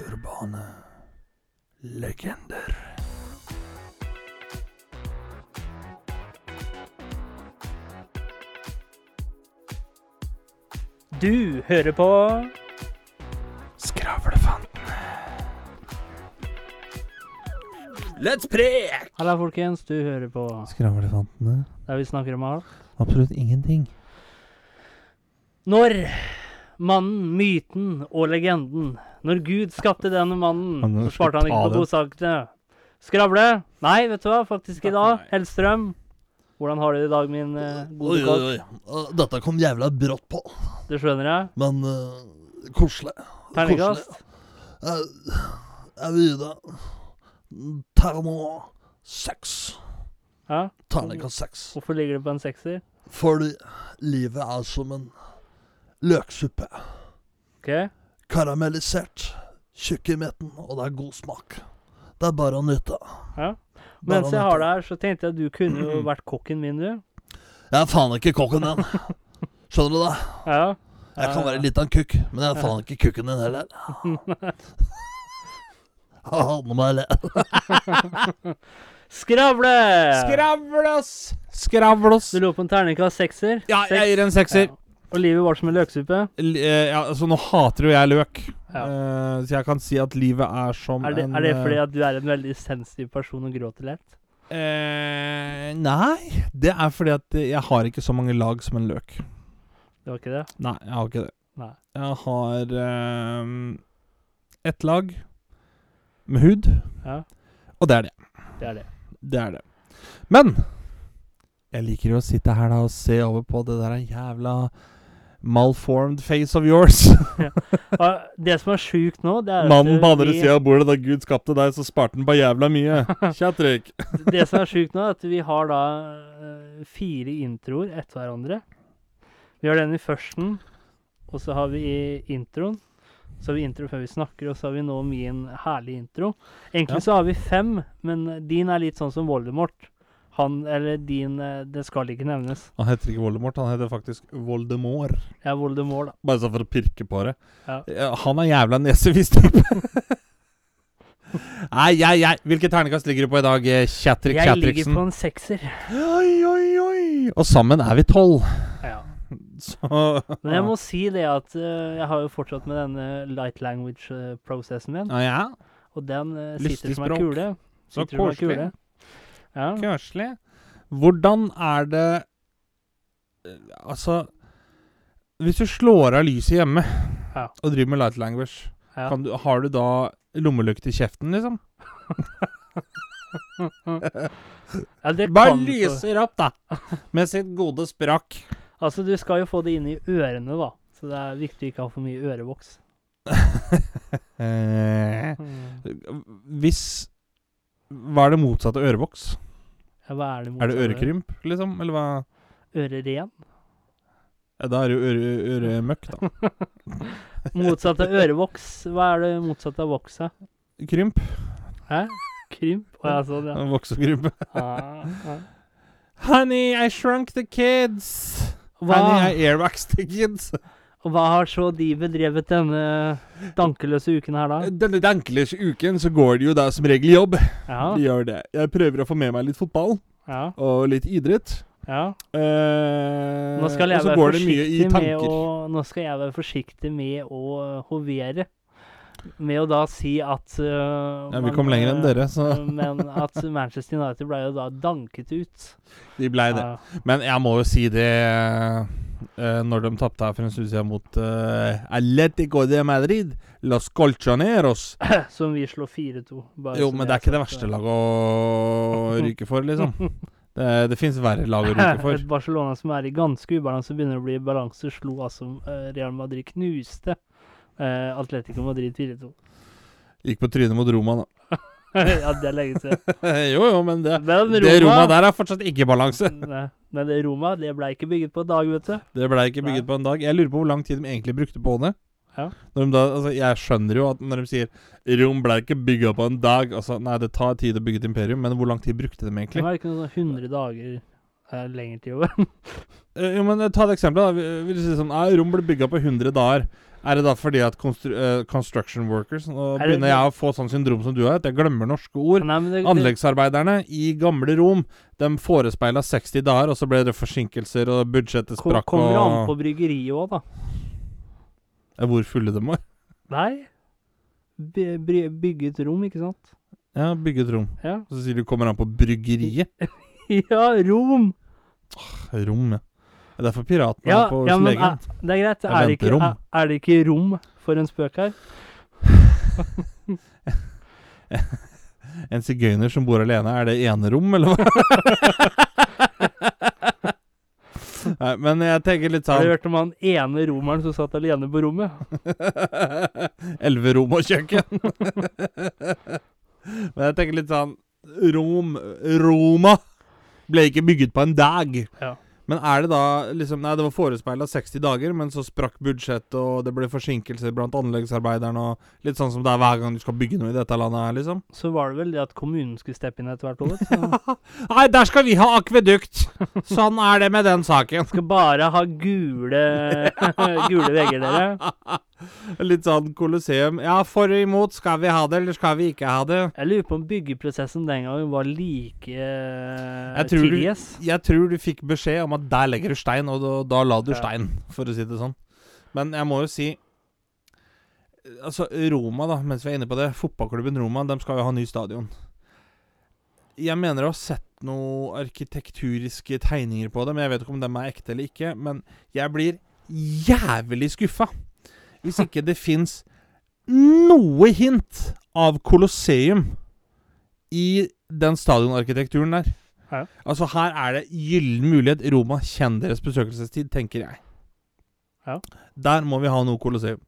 Urbane legender. Du hører på Skravlefantene. Let's prek! Halla, folkens. Du hører på Skravlefantene. der vi snakker om alt. Absolutt ingenting. Når mannen, myten og legenden Når Gud skapte denne Men mannen, nå så sparte han slutt ikke ta på godsakene. Skravle? Nei, vet du hva, faktisk i dag. Nei. Hellstrøm. Hvordan har du det i dag, min eh, Oi, gode oi, kokk? oi. Eh, Dette kom jævla brått på, Det skjønner jeg. men eh, koselig. Terningkast? Jeg, jeg vil gi det terno seks. Ja? Terningkast seks. Hvorfor ligger det på en sekser? Fordi livet er som en løksuppe. OK? Karamellisert, tjukk i midten, og det er god smak. Det er bare å nyte. Ja. Bare Mens å jeg nyte. har deg her, så tenkte jeg at du kunne jo vært kokken min, du. Jeg er faen ikke kokken din. Skjønner du det? Ja. Jeg kan Ja, ja. være litt av en kukk, men jeg er faen ikke kukken din heller. Ah, Nå må jeg le. Skravle! Skravlas! Skravlos! Du lå på en terningkast sekser. Ja, Seks. jeg gir en sekser. Ja. Og livet var som en løksuppe. L- eh, Ja, altså, nå hater jo jeg løk, Ja. Eh, så jeg kan si at livet er som Er det, en er det eh, fordi at du er en veldig sensitiv person og gråter lett? eh, Nei, det er fordi at jeg har ikke så mange lag som en løk. Det var ikke det? Nei, jeg har ikke det. Nei. Jeg har eh, ett lag med hud, Ja, og det er det. det er det. Det er det. Men jeg liker jo å sitte her da og se over på det der jævla malformed face of yours. Og det som er sjukt nå, det er at Mannen på andre vi- sida av bordet da Gud skapte deg, så sparte han på jævla mye. Kjatrik. Det som er sjukt nå, er at vi har da eh, fire introer etter hverandre. Vi har den i førsten, og så har vi i introen. Så har vi intro før vi snakker, og så har vi nå min herlige intro. Egentlig Ja. så har vi fem, men din er litt sånn som Voldemort. Han, eller din eh, Det skal ikke nevnes. Han heter ikke Voldemort, han heter faktisk Voldemort. Jeg er Voldemort, da. Bare sånn for å pirke på det. Ja. Ja, Han er jævla nesevis, type. Nei, jeg, jeg. Hvilket ternekast ligger du på i dag, eh, Kjatrik Jeg ligger Kjatriksen? på en sekser. Oi, oi, oi. Og sammen er vi tolv. Ja. Så Men jeg må si det at eh, jeg har jo fortsatt med denne light language-prosessen min, ah, Ja, og den eh, sitter Lystig som en språk. kule. så Sitter som en koselig. kule. Ja. Kjørselig. Hvordan er det eh, Altså Hvis du slår av lyset hjemme Ja. og driver med light language, Ja. kan du, har du da lommelykt i kjeften, liksom? Ja, det Bare kan du få. lyser opp, da! Med sitt gode sprakk. Altså, du skal jo få det inn i ørene, da. Så det er viktig å ikke ha for mye ørevoks. Eh, Ja, hvis Hva er det motsatte av ørevoks? hva er det Er det motsatte? ørekrymp, liksom? Eller hva? Øreren? Ja, da er det jo øre, øremøkk, da. Motsatt av ørevoks. Hva er det motsatte av voks, da? Krymp. Hæ? Krymp? Å ja, sånn, ja. Voksekrympe. Ah, ah. Honey, I shrunk the kids. Hva, I airwaxed the kids. hva har så de bedrevet denne dankeløse uken her, da? Denne dankeløse uken så går det jo da som regel jobb. De Ja, gjør det. Jeg prøver å få med meg litt fotball ja, og litt idrett. ja. Eh, Nå skal jeg og så være går det mye i forsiktig med tanker. å Nå skal jeg være forsiktig med å hovere. Med å da si at øh, Ja, vi man, kom lenger enn øh, dere, så men at Manchester United ble jo da danket ut. de blei det. Ja. Men jeg må jo si det eh, Når de tapte her for en stund siden mot eh, Atletico de Madrid Los Colchoneros Som vi slår 4-2. bare Jo, som jeg men det er ikke sa, det så- verste laget å ryke for, liksom. Det, det fins verre lag å ryke for. Et Barcelona som er i ganske ubalanse, begynner å bli i balanse, slo altså øh, Real Madrid knuste øh, Atletico Madrid 4-2. Gikk på trynet mot Roma, da. ja, det er lenge siden. jo, jo, men det, Men det Roma der er fortsatt ikke i balanse. Nei, Men det Roma, det ble ikke bygget på dag, vet du. Det ble ikke bygget Nei. på en dag. Jeg lurer på hvor lang tid de egentlig brukte på det. Ja. Når de da, altså, jeg skjønner jo at når de sier Rom ble ikke bygga på en dag altså, Nei, det tar tid å bygge et imperium, men hvor lang tid brukte de Det egentlig? var ikke noe sånn 100 dager eh, lenger til over. Eh, Jo, men eh, Ta et eksempel. da Vi- vi sier sånn, nei, Rom ble bygga på 100 dager. Er det da fordi at constru eh, construction workers Nå Er det- begynner jeg å få sånn syndrom som du har, at jeg glemmer norske ord. Nei, men det, det, Anleggsarbeiderne i gamle Rom De forespeila 60 dager, og så ble det forsinkelser, og budsjettet kom, sprakk. kommer jo an Og på bryggeriet òg, da. Eh, hvor fulle de var. Nei. By- bry- Bygge et rom, ikke sant? Ja, bygget rom. Ja, Så sier du kommer an på bryggeriet. ja rom! Rom, ja. Det er derfor piratene Ja, er på ja men slegen. er, det er greit. Jeg Er det, ikke, venter rom. er, er det ikke rom for en spøk her? En sigøyner som bor alene, er det enerom, eller hva? Nei, men jeg tenker litt Har du sånn hørt om han ene romeren som satt alene på rommet? Elleve rom og kjøkken. men jeg tenker litt sånn Rom Roma ble ikke bygget på en dag. Ja. Men er det da liksom Nei, det var forespeila 60 dager, men så sprakk budsjettet, og det ble forsinkelser blant anleggsarbeiderne, og litt sånn som det er hver gang du skal bygge noe i dette landet her, liksom. Så var det vel det at kommunen skulle steppe inn etter hvert år. Så Nei, der skal vi ha akvedukt! Sånn er det med den saken. skal bare ha gule, gule vegger, dere. Litt sånn Colosseum. Ja, for og imot. Skal vi ha det, eller skal vi ikke ha det? Jeg lurer på om byggeprosessen den gangen var like eh, tror du- tidies. Jeg tror du fikk beskjed om at der legger du stein, og da, da la du Ja. stein, for å si det sånn. Men jeg må jo si Altså, Roma, da, mens vi er inne på det. Fotballklubben Roma, de skal jo ha ny stadion. Jeg mener å ha sett noen arkitekturiske tegninger på dem. Jeg vet ikke om dem er ekte eller ikke, men jeg blir jævlig skuffa hvis ikke det fins noe hint av Colosseum i den stadionarkitekturen der. Ja. Altså, her er det gyllen mulighet. Roma, kjenn deres besøkelsestid, tenker jeg. Ja. Der må vi ha noe Colosseum.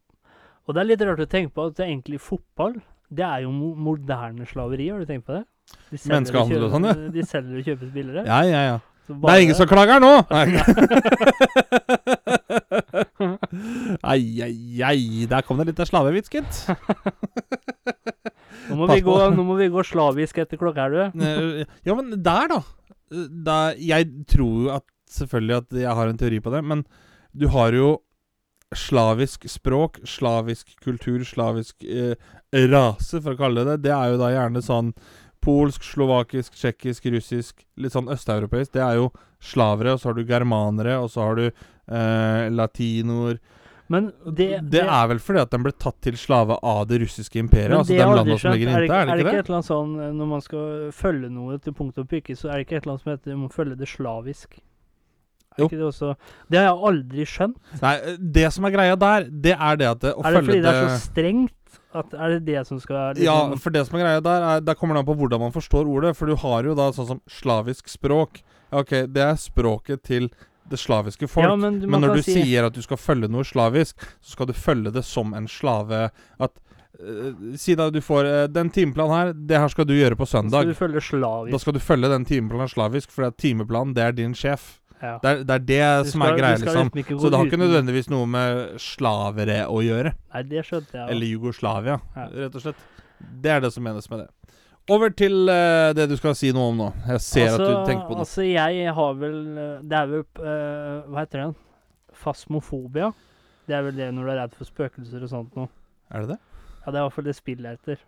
Og det er litt rart å tenke på at det er egentlig fotball. Det er jo mo- moderne slaveri, har du tenkt på det? De selger Menneskehandel og kjøper- sånn, De selger og kjøper spillere. Ja, ja, ja. Så Det er bare- ingen som klager nå! Nei. Ai, ai, ai. Der kom det litt av slavevits, gitt. nå, må Pass vi gå, på. nå må vi gå slavisk etter klokka, er du? Eh, Ja, men der, da. Eh, Der, jeg tror jo at Selvfølgelig at jeg har en teori på det, men du har jo slavisk språk, slavisk kultur, slavisk eh, rase, for å kalle det det. Det er jo da gjerne sånn polsk, slovakisk, tsjekkisk, russisk, litt sånn østeuropeisk. Det er jo slavere, og så har du germanere, og så har du eh, latinoer Men det, det, er vel fordi at den ble tatt til slave av det russiske imperiet? men Altså det har de jeg aldri landene som skjønt. ligger inntil, er det ikke det? et eller annet sånn eh, Når man skal følge noe til punkt og prikke, så er det ikke et eller annet som heter man må følge det slavisk. Er Jo. ikke det også Det har jeg aldri skjønt. Nei, eh, det som er greia der, det er det at det, å Er det følge fordi det er så strengt? At er det det som skal Ja, liksom, for det som er greia der, er, der kommer det an på hvordan man forstår ordet. For du har jo da sånn som slavisk språk. Ja, Ok, det er språket til det slaviske folk. Ja, men, men, man når kan du si, sier at du skal følge noe slavisk, så skal du følge det som en slave. At eh, Si da du får eh, Den timeplanen her, det her skal du gjøre på Skal søndag. du følge slavisk? Da skal du følge den timeplanen slavisk, for timeplanen, det er din sjef. ja. Det er det, er det Du som skal- er du greia, skal liksom. liksom ikke Så gå det har ikke uten- nødvendigvis noe med slavere å gjøre. Nei, det skjønte jeg. Eller Jugoslavia, Ja. rett og slett. Det er det som menes med det. Over til eh, det du skal si noe om nå. Jeg ser at du tenker på noe. Altså, jeg har vel eh, Det er vel eh, Hva heter det? igjen? Fasmofobia. Det er vel det når du er redd for spøkelser og sånt noe. Er det det? Ja, det er i hvert fall det spillet jeg heter.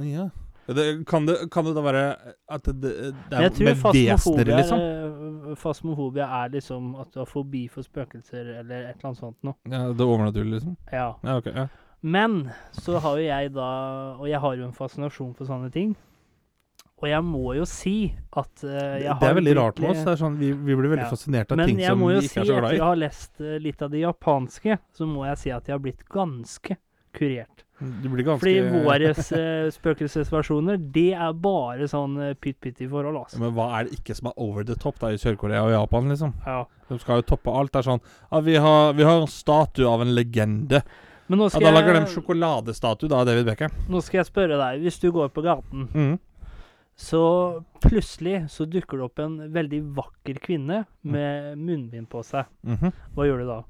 Å, Ja. Det, kan, det, kan det da være at det, det Men er jeg tror med fasmofobia, vesener, er, liksom? eh, fasmofobia er liksom at du har fobi for spøkelser eller et eller annet sånt noe. Ja, det overnaturlige, liksom? Ja. Ja, ok. Ja. Men så har jo jeg da Og jeg har jo en fascinasjon for sånne ting. Og jeg må jo si at eh, Det, jeg har det er veldig blitt rart med oss. litt- Det er sånn, vi, vi blir veldig Ja. fascinert av Men ting jeg som må vi jo ikke si, er så etter glad i. jeg har lest eh, litt av det japanske, så må jeg si at jeg har blitt ganske kurert. Du blir ganske Fordi våre spøkelsesversjoner, det er bare sånn eh, pytt-pytt i forhold, Ja, altså. Men hva er det ikke som er over the top da i Sør-Korea og Japan, liksom? Ja. De skal jo toppe alt. Det er sånn ja, vi, har, 'Vi har en statue av en legende'. Men nå Ja, skal, Da lager de jeg, sjokoladestatue da, av David Beckham. nå skal jeg spørre deg. Hvis du går på gaten, Mm. så plutselig så dukker det opp en veldig vakker kvinne med munnbind på seg. Mhm. Hva gjør du da?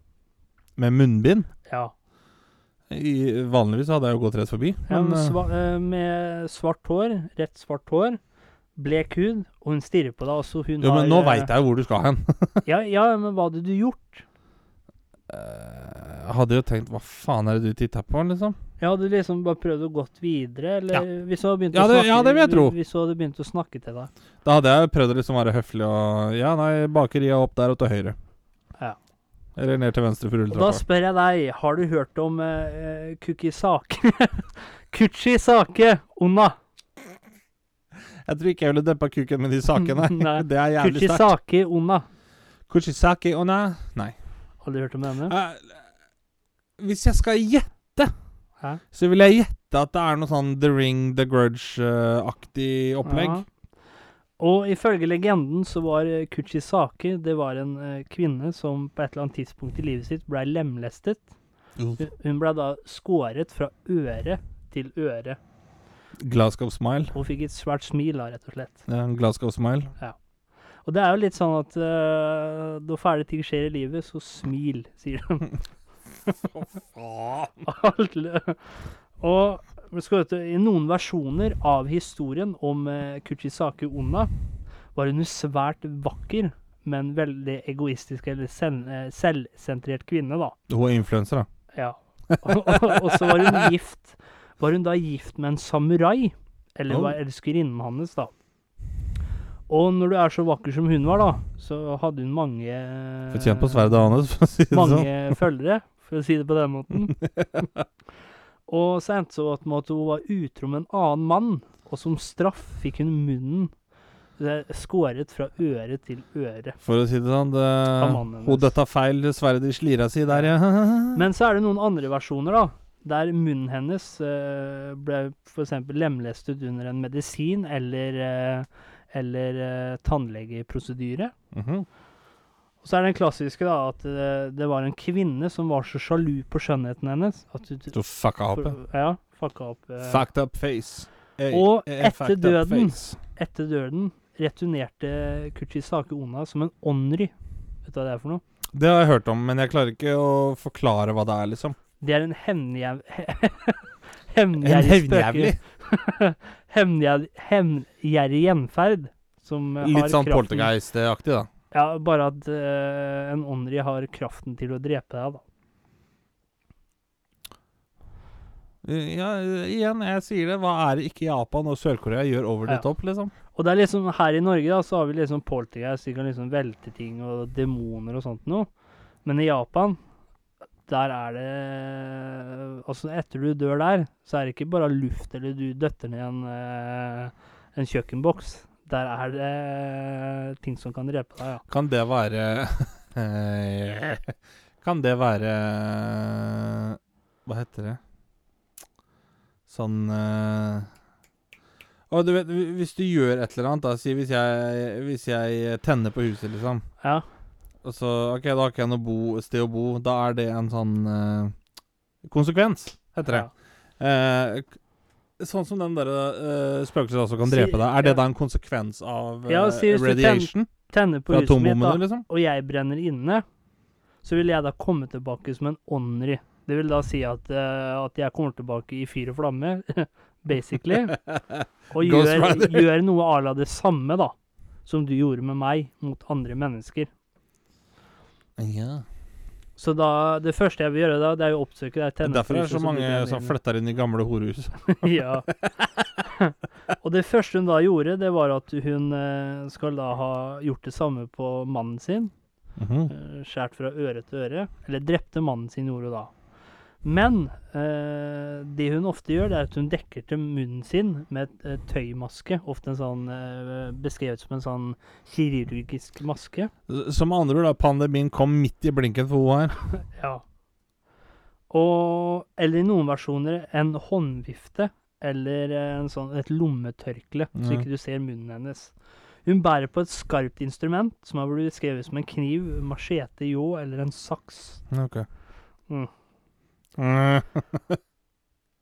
Med munnbind. Ja, I, vanligvis hadde jeg jo gått rett forbi. ja Men, med, eh, sva, eh, med svart hår, rett svart hår, blek hud, og hun stirrer på deg. og så hun jo, men har, nå eh, veit jeg jo hvor du skal hen. Ja, ja, men hva hadde du gjort? Eh, hadde jo tenkt Hva faen er det du titta på, liksom? Ja, hadde du liksom bare prøvd å gått videre, eller hvis du hadde begynt Ja, å det- snakke ja, det vil jeg tro. Hvis du hadde begynt å snakke til deg. Da hadde jeg prøvd å liksom være høflig og Ja, nei, bakeriet er opp der og til høyre. Ja. Eller ned til venstre for Og da rulletrappa. spør jeg deg, har du hørt om uh, Kukisake? Kuchisake Onna. Jeg tror ikke jeg ville dempa kuken med de sakene. Nei. Det er jævlig sterkt. Kuchisake Onna. Kuchisaki ona Nei. Har du hørt om henne? Eh, hvis jeg skal gjette, Hæ? så vil jeg gjette at det er noe sånn The Ring, The Grudge-aktig opplegg. Ja. Og ifølge legenden så var eh, Kuchisake det var en eh, kvinne som på et eller annet tidspunkt i livet sitt blei lemlestet. Jo. Hun- Hun blei da skåret fra øre til øre. Glasgow Smile. Hun fikk et svært smil da, rett og slett. Ja, Glasgow Smile. Og det er jo litt sånn at eh, når fæle ting skjer i livet, så smil, sier de. Alt lø- Og men skal du vite, i noen versjoner av historien om eh, Kuchisake Onna var hun en svært vakker, men veldig egoistisk eller sen, eh, selvsentrert kvinne, da. Hun er influenser, da. Ja. Og, og, og så var hun gift Var hun da gift med en samurai, eller Oh. var elskerinnen hans, da. Og når du er så vakker som hun var, da, så hadde hun mange eh, Fortjent på sverdet hans, for å si det sånn. mange følgere, for å si det på den måten. og så endte det så at med at hun var utro med en annen mann, og som straff fikk hun munnen eh, skåret fra øre til øre. For å si det sånn. Det, mannen hennes. hun døtta feil sverdet i slira si der, ja. Men så er det noen andre versjoner, da. Der munnen hennes eh, ble f.eks. lemlestet under en medisin eller, eh, eller eh, tannlegeprosedyre. Mhm. Og så er den klassiske da, at eh, det var en kvinne som var så sjalu på skjønnheten hennes at hun Du fucka opp. ja. Ja, fucka opp. eh, Fucked up face. Ey, Og eh, etter fucked up døden. face. etter døden returnerte Kuchisake Ona som en onry. Vet du hva det er for noe? Det har jeg hørt om, men jeg klarer ikke å forklare hva det er, liksom. Det er en hevnjæv... En Hevngjerrig hevnjævlig. spøke. Hevngjerrig- Hevngjerrig gjenferd. Som eh, har Litt sånn kraften- poltergeist-aktig, da. Ja, bare at eh, en onry har kraften til å drepe deg, da. Ja, igjen, jeg sier det. Hva er det ikke Japan og Sør-Korea gjør over the Ja. top, liksom? Og det er liksom her i Norge, da, så har vi liksom poltergeist, de kan liksom velte ting og demoner og sånt noe. Men i Japan, der er det Altså, etter du dør der, så er det ikke bare luft eller du døtter ned en, eh, en kjøkkenboks. Der er det ting som kan drepe deg, ja. Kan det være eh, Kan det være Hva heter det? Sånn eh, Å, du vet, hvi- Hvis du gjør et eller annet, da si hvis jeg, hvis jeg tenner på huset, liksom Ja, Og så, ok, da har ikke jeg noe bo, sted å bo. Da er det en sånn eh, konsekvens, heter det. ja. Eh, k- sånn som den derre eh, spøkelset også kan Si- drepe deg. Er det ja. da en konsekvens av eh, Ja, si hvis du radiation? Tenner på Fra huset mitt, atombommene, da, liksom? og jeg brenner inne, så vil jeg da komme tilbake som en onry. Det vil da si at, eh, at jeg kommer tilbake i fyr og flamme, basically. Og Ghost gjør, Rider. gjør noe à la det samme, da, som du gjorde med meg mot andre mennesker. ja. Så da Det første jeg vil gjøre da, det er jo å oppsøke deg. tenne Derfor er det huset, så så mange blir det som en- flytter inn i gamle horehus. ja. Og det første hun da gjorde, det var at hun eh, skal da ha gjort det samme på mannen sin. Mhm. eh, skjært fra øre til øre. Eller drepte mannen sin, gjorde hun da. Men eh, det hun ofte gjør, det er at hun dekker til munnen sin med et eh, tøymaske. Ofte en sånn eh, beskrevet som en sånn kirurgisk maske. Som andre ord, da. Pandemien kom midt i blinken for hun her. Ja. Og Eller i noen versjoner en håndvifte eller en sånn, et lommetørkle, så Ja. ikke du ser munnen hennes. Hun bærer på et skarpt instrument som har blitt beskrevet som en kniv, machete, ljå eller en saks. Ok. Mm. Mm.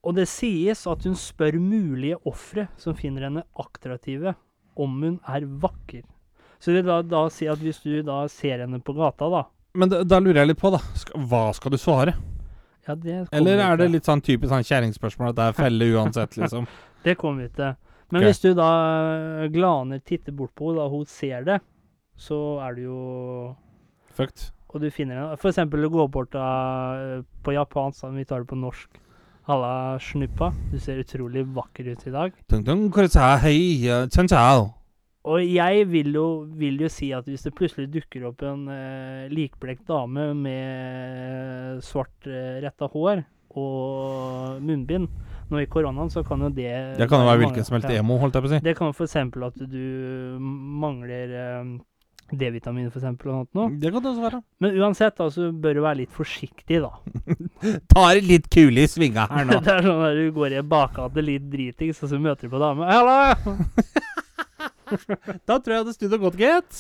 Og det sies at hun spør mulige ofre som finner henne attraktive, om hun er vakker. Så det vil da, da si at hvis du da ser henne på gata, da Men da, da lurer jeg litt på, da. Sk hva skal du svare? ja, det kommer Eller vi er det til. litt sånn typisk sånn kjerringspørsmål at det er felle uansett, liksom? Det kommer vi til. Men Ok. hvis du da øh, glaner titter bort på henne, da hun ser det, så er du jo Fucked. og du finner en For eksempel du går bort av, på japansk, da, men vi tar det på norsk. Halla, snuppa. Du ser utrolig vakker ut i dag. Tung, tung, korsa, hei, ja, tjan, tjao. Og jeg vil jo, vil jo si at hvis det plutselig dukker opp en eh, likblekt dame med svart eh, retta hår og munnbind nå i koronaen, så kan jo det Det kan jo være mange- hvilken som helst ja. emo, holdt jeg på å si. Det kan jo f.eks. at du mangler eh, D-vitamin, for eksempel, og sånt noe. Det kan det også være. Men uansett, da, så bør du være litt forsiktig, da. Tar det litt kule i svinga her nå. det er sånn at du går i en bakgate litt dritings, og så møter du på dame. Hallo! da tror jeg det stod og godt, gitt.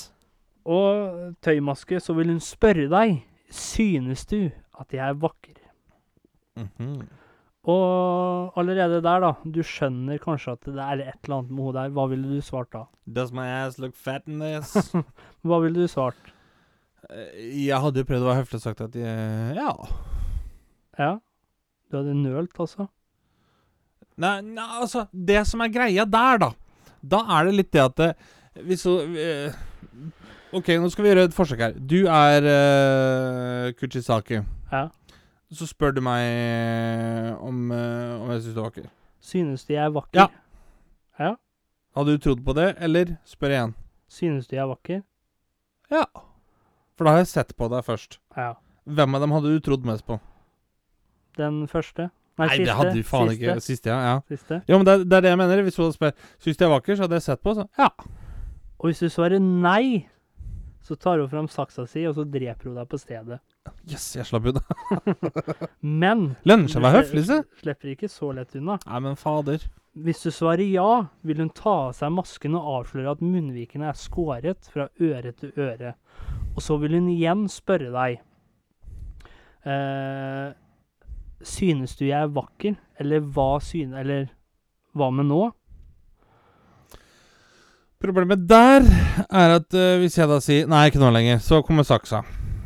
Og tøymaske, så vil hun spørre deg Synes du at jeg er vakker? Mhm. Og allerede der, da. Du skjønner kanskje at det er et eller annet med henne der. Hva ville du svart da? Does my ass look fat in this? Hva ville du svart? Eh, jeg hadde jo prøvd å være høflig og sagt at jeg, ja. Ja. Du hadde nølt, altså. Nei, nei, altså Det som er greia der, da Da er det litt det at det, Hvis så eh, Ok, nå skal vi gjøre et forsøk her. Du er eh, Kuchisaki. Ja. Så spør du meg om, eh, om jeg syns du er vakker. Synes du jeg er vakker? Ja. Hadde du trodd på det, eller spør igjen? Synes du jeg er vakker? Ja. For da har jeg sett på deg først. Ja. Hvem av dem hadde du trodd mest på? Den første? Nei, siste. det hadde du faen siste, ikke. Siste, ja. ja. Siste. Jo, men det, er- det er det jeg mener. Hvis du hadde spurt Syns du jeg er vakker, så hadde jeg sett på. Så. Ja. Og hvis du svarer nei, så tar hun fram saksa si, og så dreper hun deg på stedet. Yes, jeg slapp unna. Men Lønner seg å være høflig, se. Du slipper ikke så lett unna. Nei, men fader. Hvis du svarer ja, vil hun ta av seg masken og avsløre at munnvikene er skåret fra øre til øre. Og så vil hun igjen spørre deg eh, Synes du jeg er vakker? Eller hva syn... Eller hva med nå? Problemet der er at eh, hvis jeg da sier Nei, ikke nå lenger, så kommer saksa,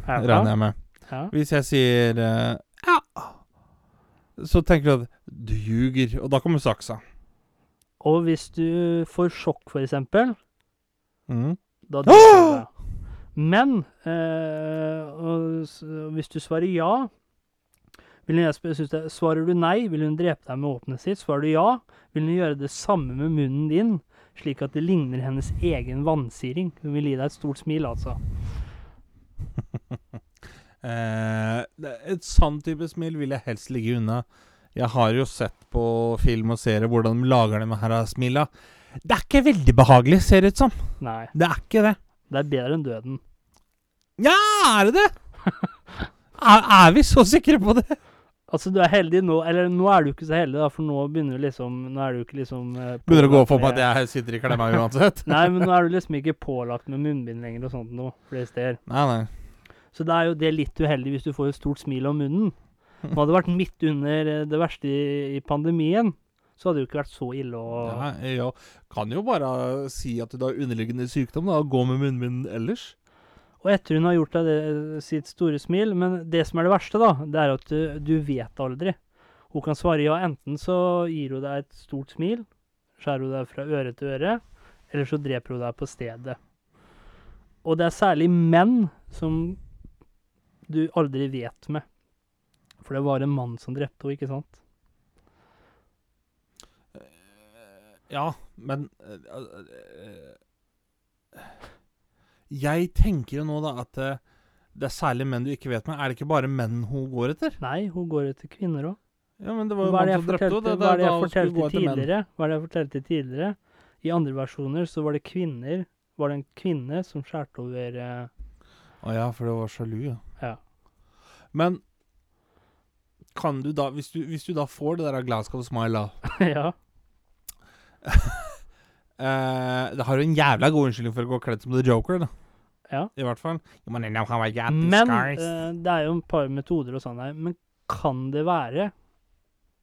regner jeg med. Ja. Hvis jeg sier eh, ja, så tenker du at du ljuger, og da kommer saksa. Og hvis du får sjokk, for eksempel, Mm. da dreper du deg. Men eh, og, s- hvis du svarer ja vil hun, jeg sp- synes det, Svarer du nei, vil hun drepe deg med våpenet sitt. Svarer du ja, vil hun gjøre det samme med munnen din, slik at det ligner hennes egen vansiring. Hun vil gi deg et stort smil, altså. Eh, det- et sånn type smil vil jeg helst ligge unna. Jeg har jo sett på film og serier hvordan de lager de her smila. Det er ikke veldig behagelig, ser det ut som. Nei, Det er ikke det. det er bedre enn døden. Ja, er det det? er, er vi så sikre på det? Altså, du er heldig nå, eller nå er du ikke så heldig, da, for nå begynner du liksom Nå er du ikke liksom eh, Begynner å gå for pålagt på med- at jeg sitter i klemma uansett. Nei, men nå er du liksom ikke pålagt med munnbind lenger og sånt noe, flere steder. Nei, nei. Så det er jo det litt uheldig hvis du får et stort smil om munnen. Om det hadde vært midt under eh, det verste i, i pandemien, så hadde det jo ikke vært så ille å Nei, ja. Kan jo bare si at du har underliggende sykdom, da, og gå med munnbind ellers. Og etter hun har gjort deg det, eh, sitt store smil, men det som er det verste, da, det er at du, du vet aldri. Hun kan svare ja. Enten så gir hun deg et stort smil, skjærer hun deg fra øre til øre, eller så dreper hun deg på stedet. Og det er særlig menn som du aldri vet med. For det var en mann som drepte henne, ikke sant? Ja, men eh, eh, eh, Jeg tenker jo nå, da, at eh, det er særlig menn du ikke vet med. Er det ikke bare menn hun går etter? Nei, hun går etter kvinner òg. Ja, men det var jo Hva er det mann jeg som drepte fortalte, henne. hva er det da jeg hun skulle fortalte gå etter menn. tidligere? Hva er det jeg fortalte tidligere? I andre versjoner så var det kvinner Var det en kvinne som skjærte over eh, Å ja, for det var sjalu, ja. Ja. Men kan du da Hvis du, hvis du da får det der av Glasgow Smile, da Ja. eh, Da har du en jævla god unnskyldning for å gå kledd som The Joker, da. Ja. I hvert fall. You wanna know how I got these Men scars? eh, det er jo et par metoder og sånn her. Men kan det være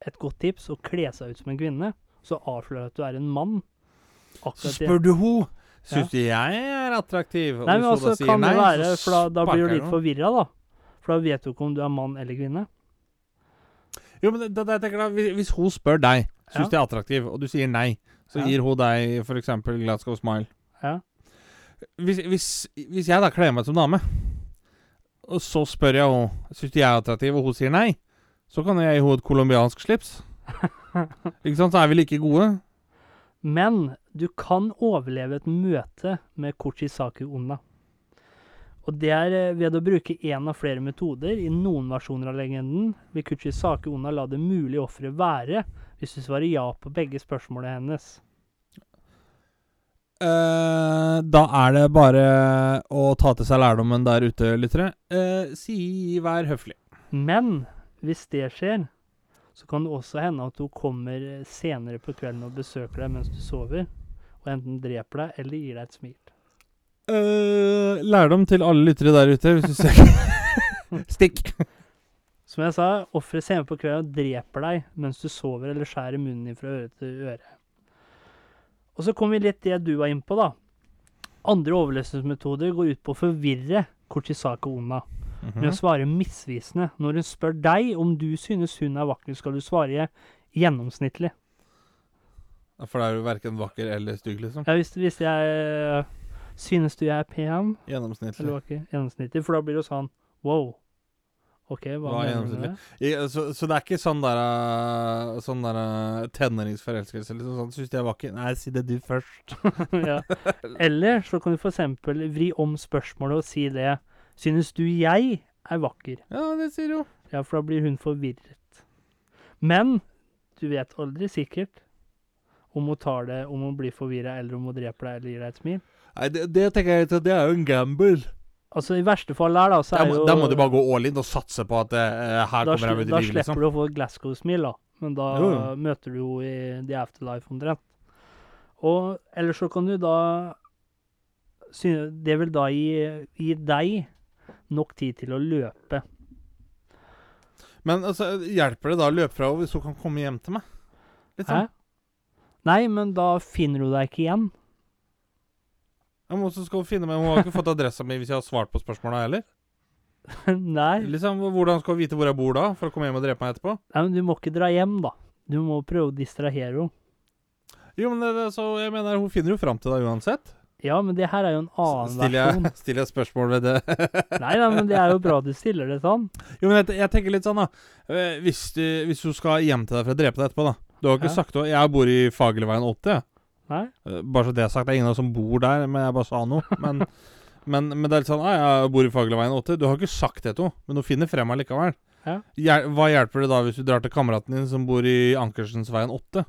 et godt tips å kle seg ut som en kvinne, så avslører at du er en mann? Så Akkurat det. spør du ho Syns du jeg er attraktiv? Og Nei, men hvis hun altså, da sier kan det nei, være så For da, da blir sparker du jeg litt henne. forvirra, da. For da vet du ikke om du er mann eller kvinne. Jo, men det, det, jeg tenker da, hvis, hvis hun spør deg, syns Ja. du jeg er attraktiv, og du sier nei, så Ja. gir hun deg f.eks. Glasgow Smile. Ja. Hvis, hvis, hvis jeg da kler meg som dame, Og så spør jeg henne Syns du jeg er attraktiv, og hun sier nei. Så kan jeg gi henne et colombiansk slips. Ikke sant? Så er vi like gode. Men du kan overleve et møte med Kochisaku Onna. Og det er eh, ved å bruke én av flere metoder i noen versjoner av legenden, vil Kochisaku Onna la det mulige offeret være hvis du svarer ja på begge spørsmålene hennes. Eh, da er det bare å ta til seg lærdommen der ute, lyttere. Eh, si vær høflig. Men hvis det skjer, så kan det også hende at hun kommer eh, senere på kvelden og besøker deg mens du sover, og enten dreper deg eller gir deg et smil. Eh, lærdom til alle lyttere der ute, hvis du ser Stikk! Som jeg sa, offeret senere på kvelden og dreper deg mens du sover eller skjærer munnen din fra øre til øre. Og så kommer vi litt til det du var inne på, da. Andre overlevelsesmetoder går ut på å forvirre Kortisake Ona Mhm. med å svare misvisende. Når hun spør deg om du synes hun er vakker, skal du svare gjennomsnittlig. For da er du verken vakker eller stygg, liksom. Ja, hvis, hvis jeg synes du jeg er pen eller Gjennomsnittlig. vakker, gjennomsnittlig, for da blir det jo sånn wow. OK, hva, Hva mener du er med gjennomsnittlig? det? I, så, så det er ikke sånn der, eh, sånn der eh, tenåringsforelskelse, liksom? Sånn, Syns du jeg er vakker? Nei, si det du først. ja. Eller så kan du f.eks. vri om spørsmålet og si det Synes du jeg er vakker? Ja, det sier jo. Ja, for da blir hun forvirret. Men du vet aldri sikkert om hun tar det, om hun blir forvirra, eller om hun dreper deg eller gir deg et smil. Nei, det, det tenker jeg at det er jo en gamble. Altså, i verste fall her, da, så Da er må, jo da må du bare gå all in og satse på at eh, her da, kommer jeg sli- ut i da livet, liksom. slipper du å få et Glasgow-smil, da. Men da Jo, jo. møter du jo i The Afterlife omtrent. Og ellers så kan du da sy- Det vil da gi, gi deg nok tid til å løpe. Men altså, hjelper det da å løpe fra henne hvis hun kan komme hjem til meg? Litt sånn. Hæ? Nei, men da finner hun deg ikke igjen. Jeg må også skal hun finne meg. Hun har ikke fått adressa mi hvis jeg har svart på spørsmåla heller. Nei. Liksom, Hvordan skal hun vite hvor jeg bor da, for å komme hjem og drepe meg etterpå? Nei, men du må ikke dra hjem, da. Du må prøve å distrahere henne. Jo, men det, det- så jeg mener, Hun finner jo fram til deg uansett. Ja, men det her er jo en annen S- versjon. Stiller jeg, stiller jeg spørsmål ved det? Nei, nei, men det er jo bra du stiller det sånn. Jo, men jeg, jeg tenker litt sånn, da. Eh, Hvis, du, hvis hun skal hjem til deg for å drepe deg etterpå, da. Du har jo ikke Ja. sagt det. Jeg bor i Fagerliveien 80. jeg. Nei? Eh, Bare så det er sagt, det er ingen av oss som bor der, men jeg bare sa noe. Men, men, men det er litt sånn «Nei, Jeg bor i Fagleveien 80. Du har ikke sagt det til henne, men hun finner frem allikevel. Ja. Hjel- Hva hjelper det da hvis du drar til kameraten din som bor i Ankersensveien 8?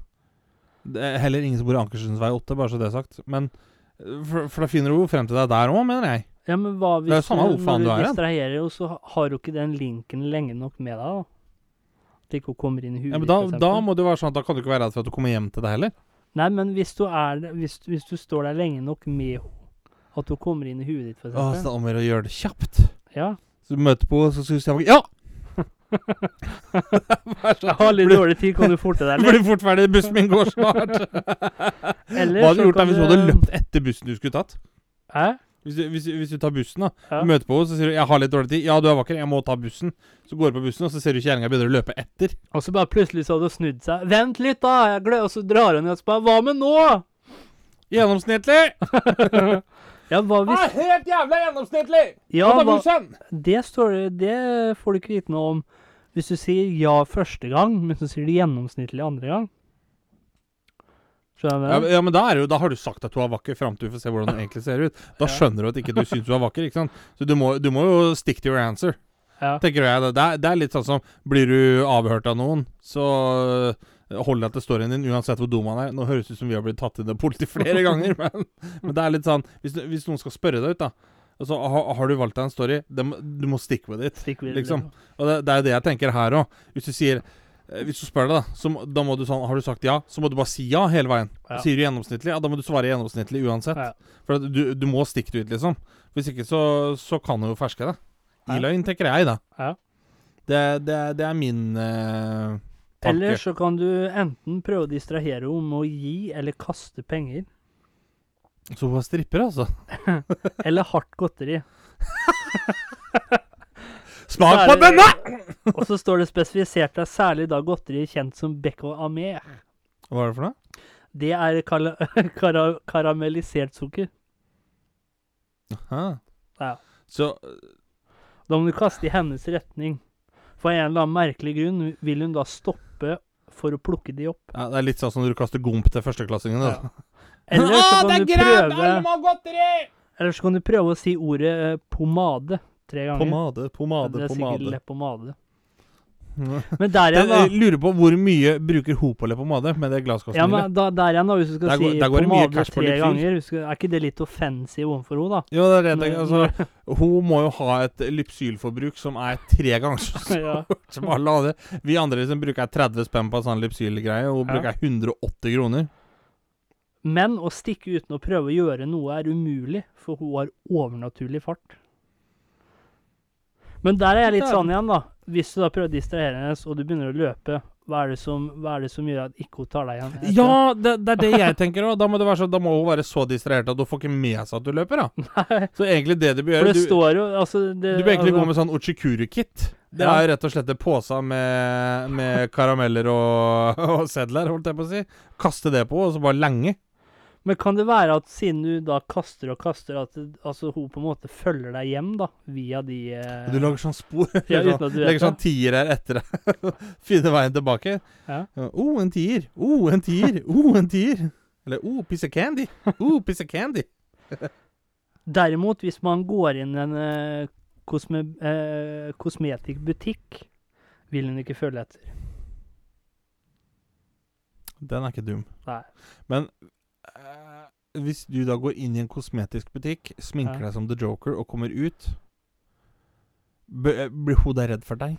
Det er heller ingen som bor i Ankersensvei 8, bare så det er sagt. Men eh, for, for da finner hun jo frem til deg der òg, mener jeg. Ja, men hva hvis Det er jo samme du, hvor faen når du du er hen. distraherer henne, så har hun ikke den linken lenge nok med deg, da? At ikke hun kommer inn i huet Ja, men da, ditt, for da eksempel. må det jo være sånn at da kan du ikke være redd for at du kommer hjem til deg heller. Nei, men hvis du, er, hvis, hvis du står der lenge nok med henne, at hun kommer inn i huet ditt, for Å, så eksempel. det er om å gjøre å gjøre det kjapt. ja. Så du møter på henne, så syns jeg Ja! Vær så Jeg har litt Blir- dårlig tid, kan du forte deg litt? Blir fort ferdig, bussen min går snart. Eller Hva hadde du så gjort da kan hvis du hadde løpt etter bussen du skulle tatt? Hæ? Hvis du, hvis, hvis du tar bussen, da. Ja. Du møter på henne, så sier du 'Jeg har litt dårlig tid'. 'Ja, du er vakker, jeg må ta bussen'. Så går du på bussen, og så ser du kjerringa begynner å løpe etter. Og så bare plutselig så hadde hun snudd seg. Vent litt, da! Jeg gleder, og så drar hun ut og så bare Hva med nå? Gjennomsnittlig! Ja, hva hvis helt jævla gjennomsnittlig! Ja, hva, bussen! det står det Det får du ikke vite noe om hvis du sier ja første gang, men så sier du gjennomsnittlig andre gang. Skjønner Ja, du? men- det? ja, men da, er det jo, da har du sagt at du er vakker, fram til du får se hvordan du egentlig ser ut. Da Ja. skjønner du at ikke du syns du er vakker, ikke sant? Så du må, du må jo stick to your answer. Ja. Tenker jeg, da. det, er, det er litt sånn som Blir du avhørt av noen, så øh, hold deg til storyen din uansett hvor dum han er. Nå høres det ut som vi har blitt tatt inn av politiet flere ganger, men, men det er litt sånn Hvis, du- hvis noen skal spørre deg ut, da. Altså, ha, har du valgt deg en story? Det, må- du må stick with it. Stikk videre. liksom. Og det, det er jo det jeg tenker her òg. Hvis du sier eh, Hvis du spør deg, da, så må, da må du sånn Har du sagt ja, så må du bare si ja hele veien. Ja. Sier du gjennomsnittlig, ja, da må du svare gjennomsnittlig uansett. Ja. For at du, du må stikke det ut, liksom. Hvis ikke så, så kan du jo ferske deg. I Ja. løgn, tenker jeg, da. Ja. Det, det, det er min eh, tanke. Eller så kan du enten prøve å distrahere henne med å gi eller kaste penger, Så hun er stripper, altså. eller hardt godteri. Smak på Særlig- denne! Og så står det spesifisert der særlig da godteri kjent som Becco Amé. Hva er det for noe? Det er kala- kara karamellisert sukker. Hæ? Ja. Så Da må du kaste i hennes retning. For av en eller annen merkelig grunn vil hun da stoppe for å plukke de opp. Ja, det er litt sånn som når du kaster gomp til altså. førsteklassingene. Ja. da. Eller Ah, så kan du prøve må ha godteri! Eller så kan du prøve å si ordet eh, pomade tre ganger. Pomade, pomade, det er sikkert pomade. leppepomade. Ja. Men der Jeg igjen, da. jeg lurer på hvor mye bruker hun på leppepomade med det Ja, glasskastemiddelet. men da, der igjen da, Hvis du skal Der går- si der går det mye pomade cash på tre litt fyr. ganger, husker, er ikke det litt offensive overfor henne, da? Jo, det er det jeg tenker. Når- Altså, hun må jo ha et lypsylforbruk som er tre ganger så stort ja. som alle andre. Vi andre liksom bruker 30 spenn på en sånn lypsylgreie, og hun Ja. bruker 180 kroner. Men å stikke uten å prøve å gjøre noe er umulig, for hun har overnaturlig fart. Men der er jeg litt sånn igjen, da. Hvis du da prøver å distrahere henne, og du begynner å løpe, hva er det som, hva er det som gjør at ikke hun tar deg igjen? etter Ja, det, det er det jeg tenker òg. Da, må det være så- da må hun være så distrahert at hun får ikke med seg at du løper. da. det? Så egentlig det du For bør gjøre det Du, står jo altså, det, du bør egentlig altså, gå med sånn Ochikuru-kit. Det Ja. er rett og slett en pose med, med karameller og, og sedler, holdt jeg på å si. Kaste det på henne, og så bare lenge. Men kan det være at siden du da kaster og kaster, at det, altså, hun på en måte følger deg hjem, da? Via de eh, Du lager sånn spor. ja, sånn- uten at du vet Legger sånn det? tier her etter deg. Finner veien tilbake. Ja. Oh, en tier. Oh, en tier. Oh, en tier. Eller oh, piece of candy. Oh, piece of candy. Derimot, hvis man går inn i en eh, kosme, eh, kosmetikkbutikk, vil hun ikke følge etter. Den er ikke dum. Nei. Men eh, hvis du da går inn i en kosmetisk butikk, sminker Ja. deg som The Joker og kommer ut b- Blir hun da redd for deg?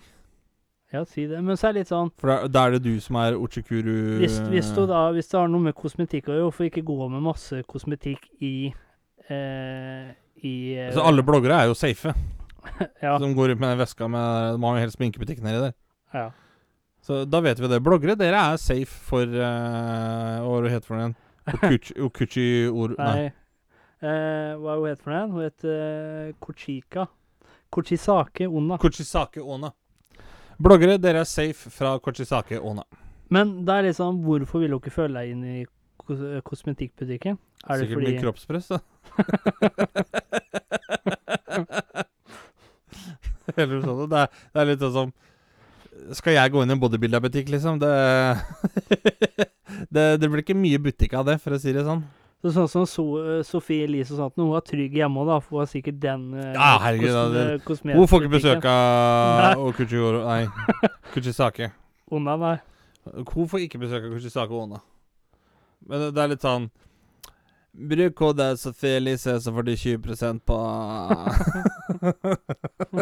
Ja, si det. Men så er det litt sånn For da, da er det du som er Ochikuru Hvis, hvis, du da, hvis det har noe med kosmetikk å gjøre, hvorfor ikke gå med masse kosmetikk i eh, i eh, Så alle bloggere er jo safe, ja, som går ut med den veska med De har jo helt sminkebutikk nedi der. ja. Så da vet vi det. Bloggere, dere er safe for eh, Hva var det hun heter for noe igjen? Okuchi- Okuchi Or... Nei. Nei. Eh, hva er hun het for noe? Hun het eh, Kochika. Kochisake Onna. Kochisake Ona. Bloggere, dere er safe fra Kochisake Ona. Men det er liksom, hvorfor vil hun ikke følge deg inn i kos eh, kosmetikkbutikken? Er det Sikkert fordi mye kroppspress, da. Eller noe sånt. Det er, det er litt sånn som Skal jeg gå inn i en bodybuilderbutikk, liksom? Det, det Det blir ikke mye butikk av det, for å si det sånn. Så, sånn som so Sofie Elise og sånt, når hun er trygg hjemme også, da, for hun har sikkert den eh, Ja, herregud, kos- da, det- eh, kosmetikkbutikken. Hun får ikke besøk Nei. av Okuchi Or... Nei. Kochisake. Onna, nei. Hun får ikke besøk av Kushisake Ona. Men det, det er litt sånn Bruk kode Sofie Elise, så får du 20 på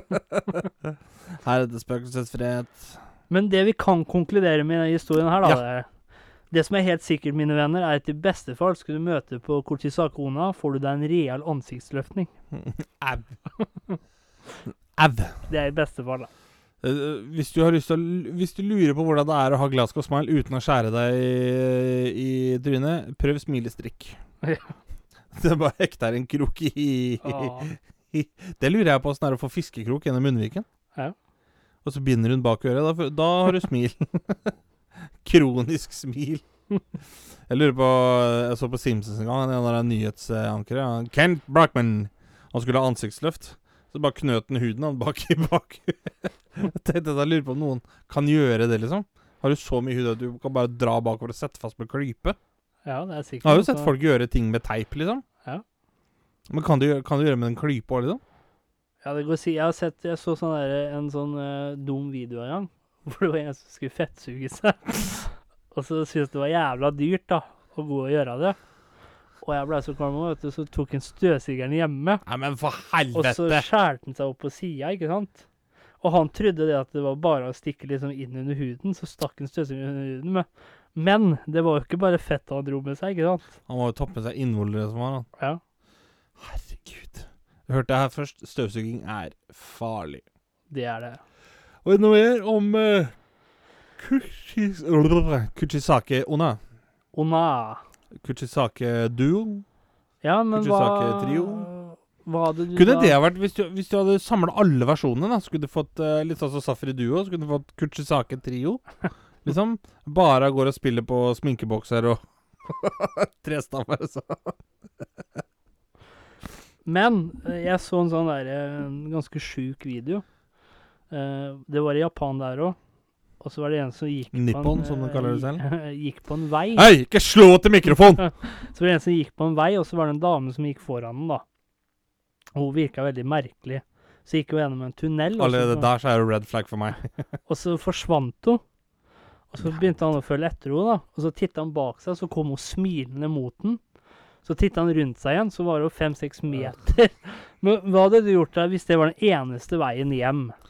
Her er det spøkelsesfrihet. Men det vi kan konkludere med i denne historien her, da Ja. det, er, det som er helt sikkert, mine venner, er at i beste fall skulle du møte på Kochisake Onna, får du deg en real ansiktsløftning. Au. Au. Det er i beste fall, da. Eh, Hvis du, har lyst til å, l- hvis du lurer på hvordan det er å ha Glasgow smile uten å skjære deg i, i trynet, prøv smilestrikk. Ja. Det bare hekter en krok i Ah. Det lurer jeg på åssen det er å få fiskekrok gjennom munnviken. Ja. Og så binder hun bak øret. Da, får- da har du smil. Kronisk smil. Jeg lurer på Jeg så på Simpsons en gang, en av de nyhetsankere. han- Kent Brochman. Han skulle ha ansiktsløft. Så bare knøt han huden han bak i bakhuet. Jeg tenkte at jeg lurer på om noen kan gjøre det, liksom. Har du så mye hud at du kan bare dra bakover og sette fast med klype? Ja, det er sikkert. Jeg har jo noe sett som- folk gjøre ting med teip, liksom. Ja. Men kan du, gjøre- kan du gjøre med en klype òg, liksom? Ja, det går å si. Jeg har sett, jeg så sånn der, en sånn eh, dum video en gang, hvor det var en som skulle fettsuge seg. og så syntes det var jævla dyrt da, å gå og gjøre det. Og jeg ble så kvalm, vet du, så tok han støvsugeren hjemme, Nei, men for og så helvete! skjærte han seg opp på sida, ikke sant? Og han trodde det at det var bare å stikke liksom inn under huden, så stakk han støvsugeren under huden med. Men det var jo ikke bare fett han dro med seg, ikke sant? Han må jo ta med seg innvollere som var, han. Ja. Herregud. Du hørte det her først. Støvsuging er farlig. Det er det. Og noe mer om eh, Kuchis... Kuchisake Ona. Ona. Kuchisake Duo. Ja, men hva Kuchisake-trio. Hva hadde du Kunne da- det vært Hvis du, hvis du hadde samla alle versjonene, da, skulle du fått eh, litt sånn som Safri Duo, så kunne du fått Kuchisake Trio. Liksom. Bare går og spiller på sminkebokser og trestammer og sånn. Men eh, jeg så en sånn der, eh, en ganske sjuk video. Eh, det var i Japan der òg. Og så var det en som gikk på en, Nippon, som de eh, kaller det gi- selv. gikk på en vei. Hei, ikke slå til mikrofonen! Så var det en som gikk på en vei, og så var det en dame som gikk foran den, da. Og hun virka veldig merkelig. Så gikk hun gjennom en tunnel, og så, Allerede der så er det red flag for meg. og så forsvant hun. Og så begynte han å følge etter henne, da. Og så titta han bak seg, så kom hun smilende mot den. Så titta han rundt seg igjen, så var hun fem-seks meter. Men hva hadde du gjort da hvis det var den eneste veien hjem?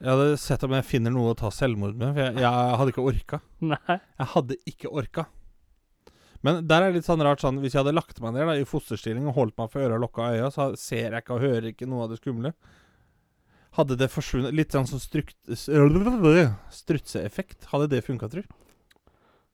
Jeg hadde sett om jeg finner noe å ta selvmord med, for jeg, jeg hadde ikke orka. Nei. Jeg hadde ikke orka. Men der er det litt sånn rart sånn Hvis jeg hadde lagt meg ned da, i fosterstilling og holdt meg for øra og lukka øya, så ser jeg ikke og hører ikke noe av det skumle. Hadde det forsvunnet Litt sånn som strukt, strutseeffekt. Hadde det funka, tror du?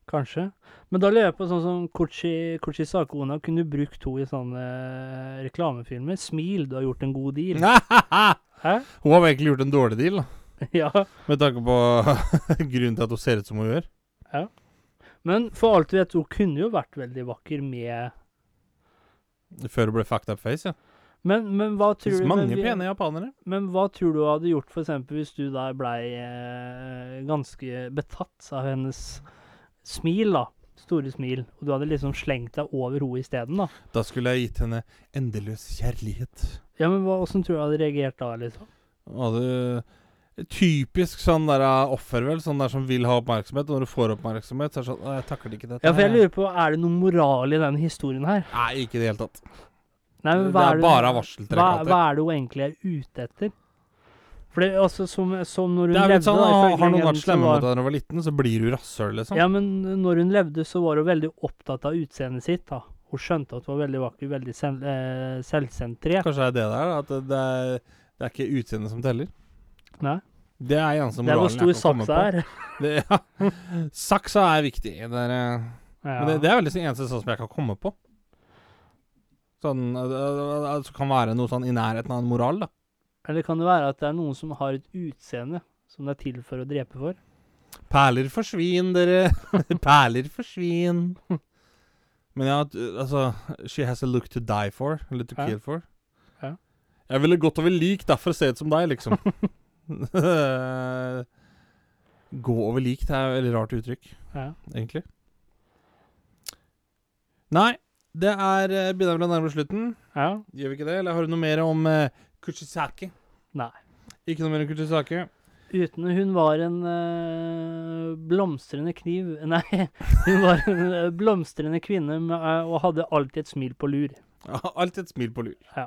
Kanskje. Men da lurer jeg på sånn som Kochi, Kochi Sakona kunne brukt henne i sånne eh, reklamefilmer. Smil, du har gjort en god deal. Hun Hæ? har vel egentlig gjort en dårlig deal, da. Ja. Med tanke på grunnen til at hun ser ut som hun gjør. Men for alt vi vet, hun kunne jo vært veldig vakker med Før hun ble fucked up face, ja. Men, men hva Det tror finnes du mange men, vi- pene japanere. Men hva tror du hun hadde gjort f.eks. hvis du der blei eh, ganske betatt av hennes smil, da? Store smil. Og du hadde liksom slengt deg over henne isteden, da? Da skulle jeg gitt henne endeløs kjærlighet. Ja, men hva- åssen tror du hun hadde reagert da, liksom? Og det Typisk sånn der eh, offer, vel. Sånn der som vil ha oppmerksomhet. Og når du får oppmerksomhet, så er det sånn «Å, Jeg takler ikke dette. Ja, for jeg her, lurer på, er det noe moral i den historien her? jeg». Nei, ikke i det hele tatt. Nei, men det hva er det- bare hva, varseltrekanter. hva er det hun egentlig er ute etter? For det er altså som, som når hun Det er levde litt sånn da, ah, ifølge Har noen legenden, vært så slemme var- mot deg når du var liten, så blir du rasshøl, liksom. Ja, men når hun levde, så var hun veldig opptatt av utseendet sitt. da. Hun skjønte at hun var veldig vakker, veldig selv, eh, selvsentrert. Kanskje det er det der, at det- det er, det er ikke utseendet som teller. Nei. Det er eneste Det er moralen hvor stor jeg kan komme saksa på. er. Det, ja. Saksa er viktig. Det er, eh, Ja. Men det, det er vel liksom eneste sånn som jeg kan komme på. Sånn eh, eh, eh, Som kan være noe sånn i nærheten av en moral, da. Eller kan det være at det er noen som har et utseende som det er til for å drepe for? Perler forsvin, dere. Perler forsvin. Men ja, at, uh, altså She has a look to die for. Eller to Ja. kill for. Ja. Jeg ville gått over lik derfor se ut som deg, liksom. Gå over lik, det er et veldig rart uttrykk, Ja. egentlig. Nei, det er eh, Begynner vel å nærme oss slutten. ja. Gjør vi ikke det? Eller har du noe mer om eh, Kuchisaki? Nei. Ikke noe mer om Kuchisaki? Uten hun var en eh, blomstrende kniv Nei, hun var en eh, blomstrende kvinne med, eh, og hadde alltid et smil på lur. Alltid et smil på lur. Ja.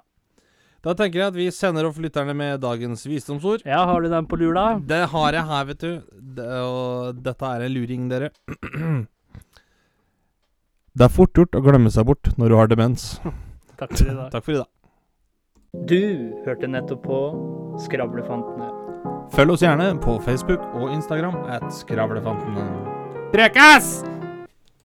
Da tenker jeg at vi sender off lytterne med dagens visdomsord. Ja, har du den på lur, da? Det har jeg her, vet du. Det, og dette er en luring, dere. Det er fort gjort å glemme seg bort når du har demens. Takk for i dag. Takk for i dag. Du hørte nettopp på Skravlefantene. Følg oss gjerne på Facebook og Instagram at Skravlefantene. Prekas!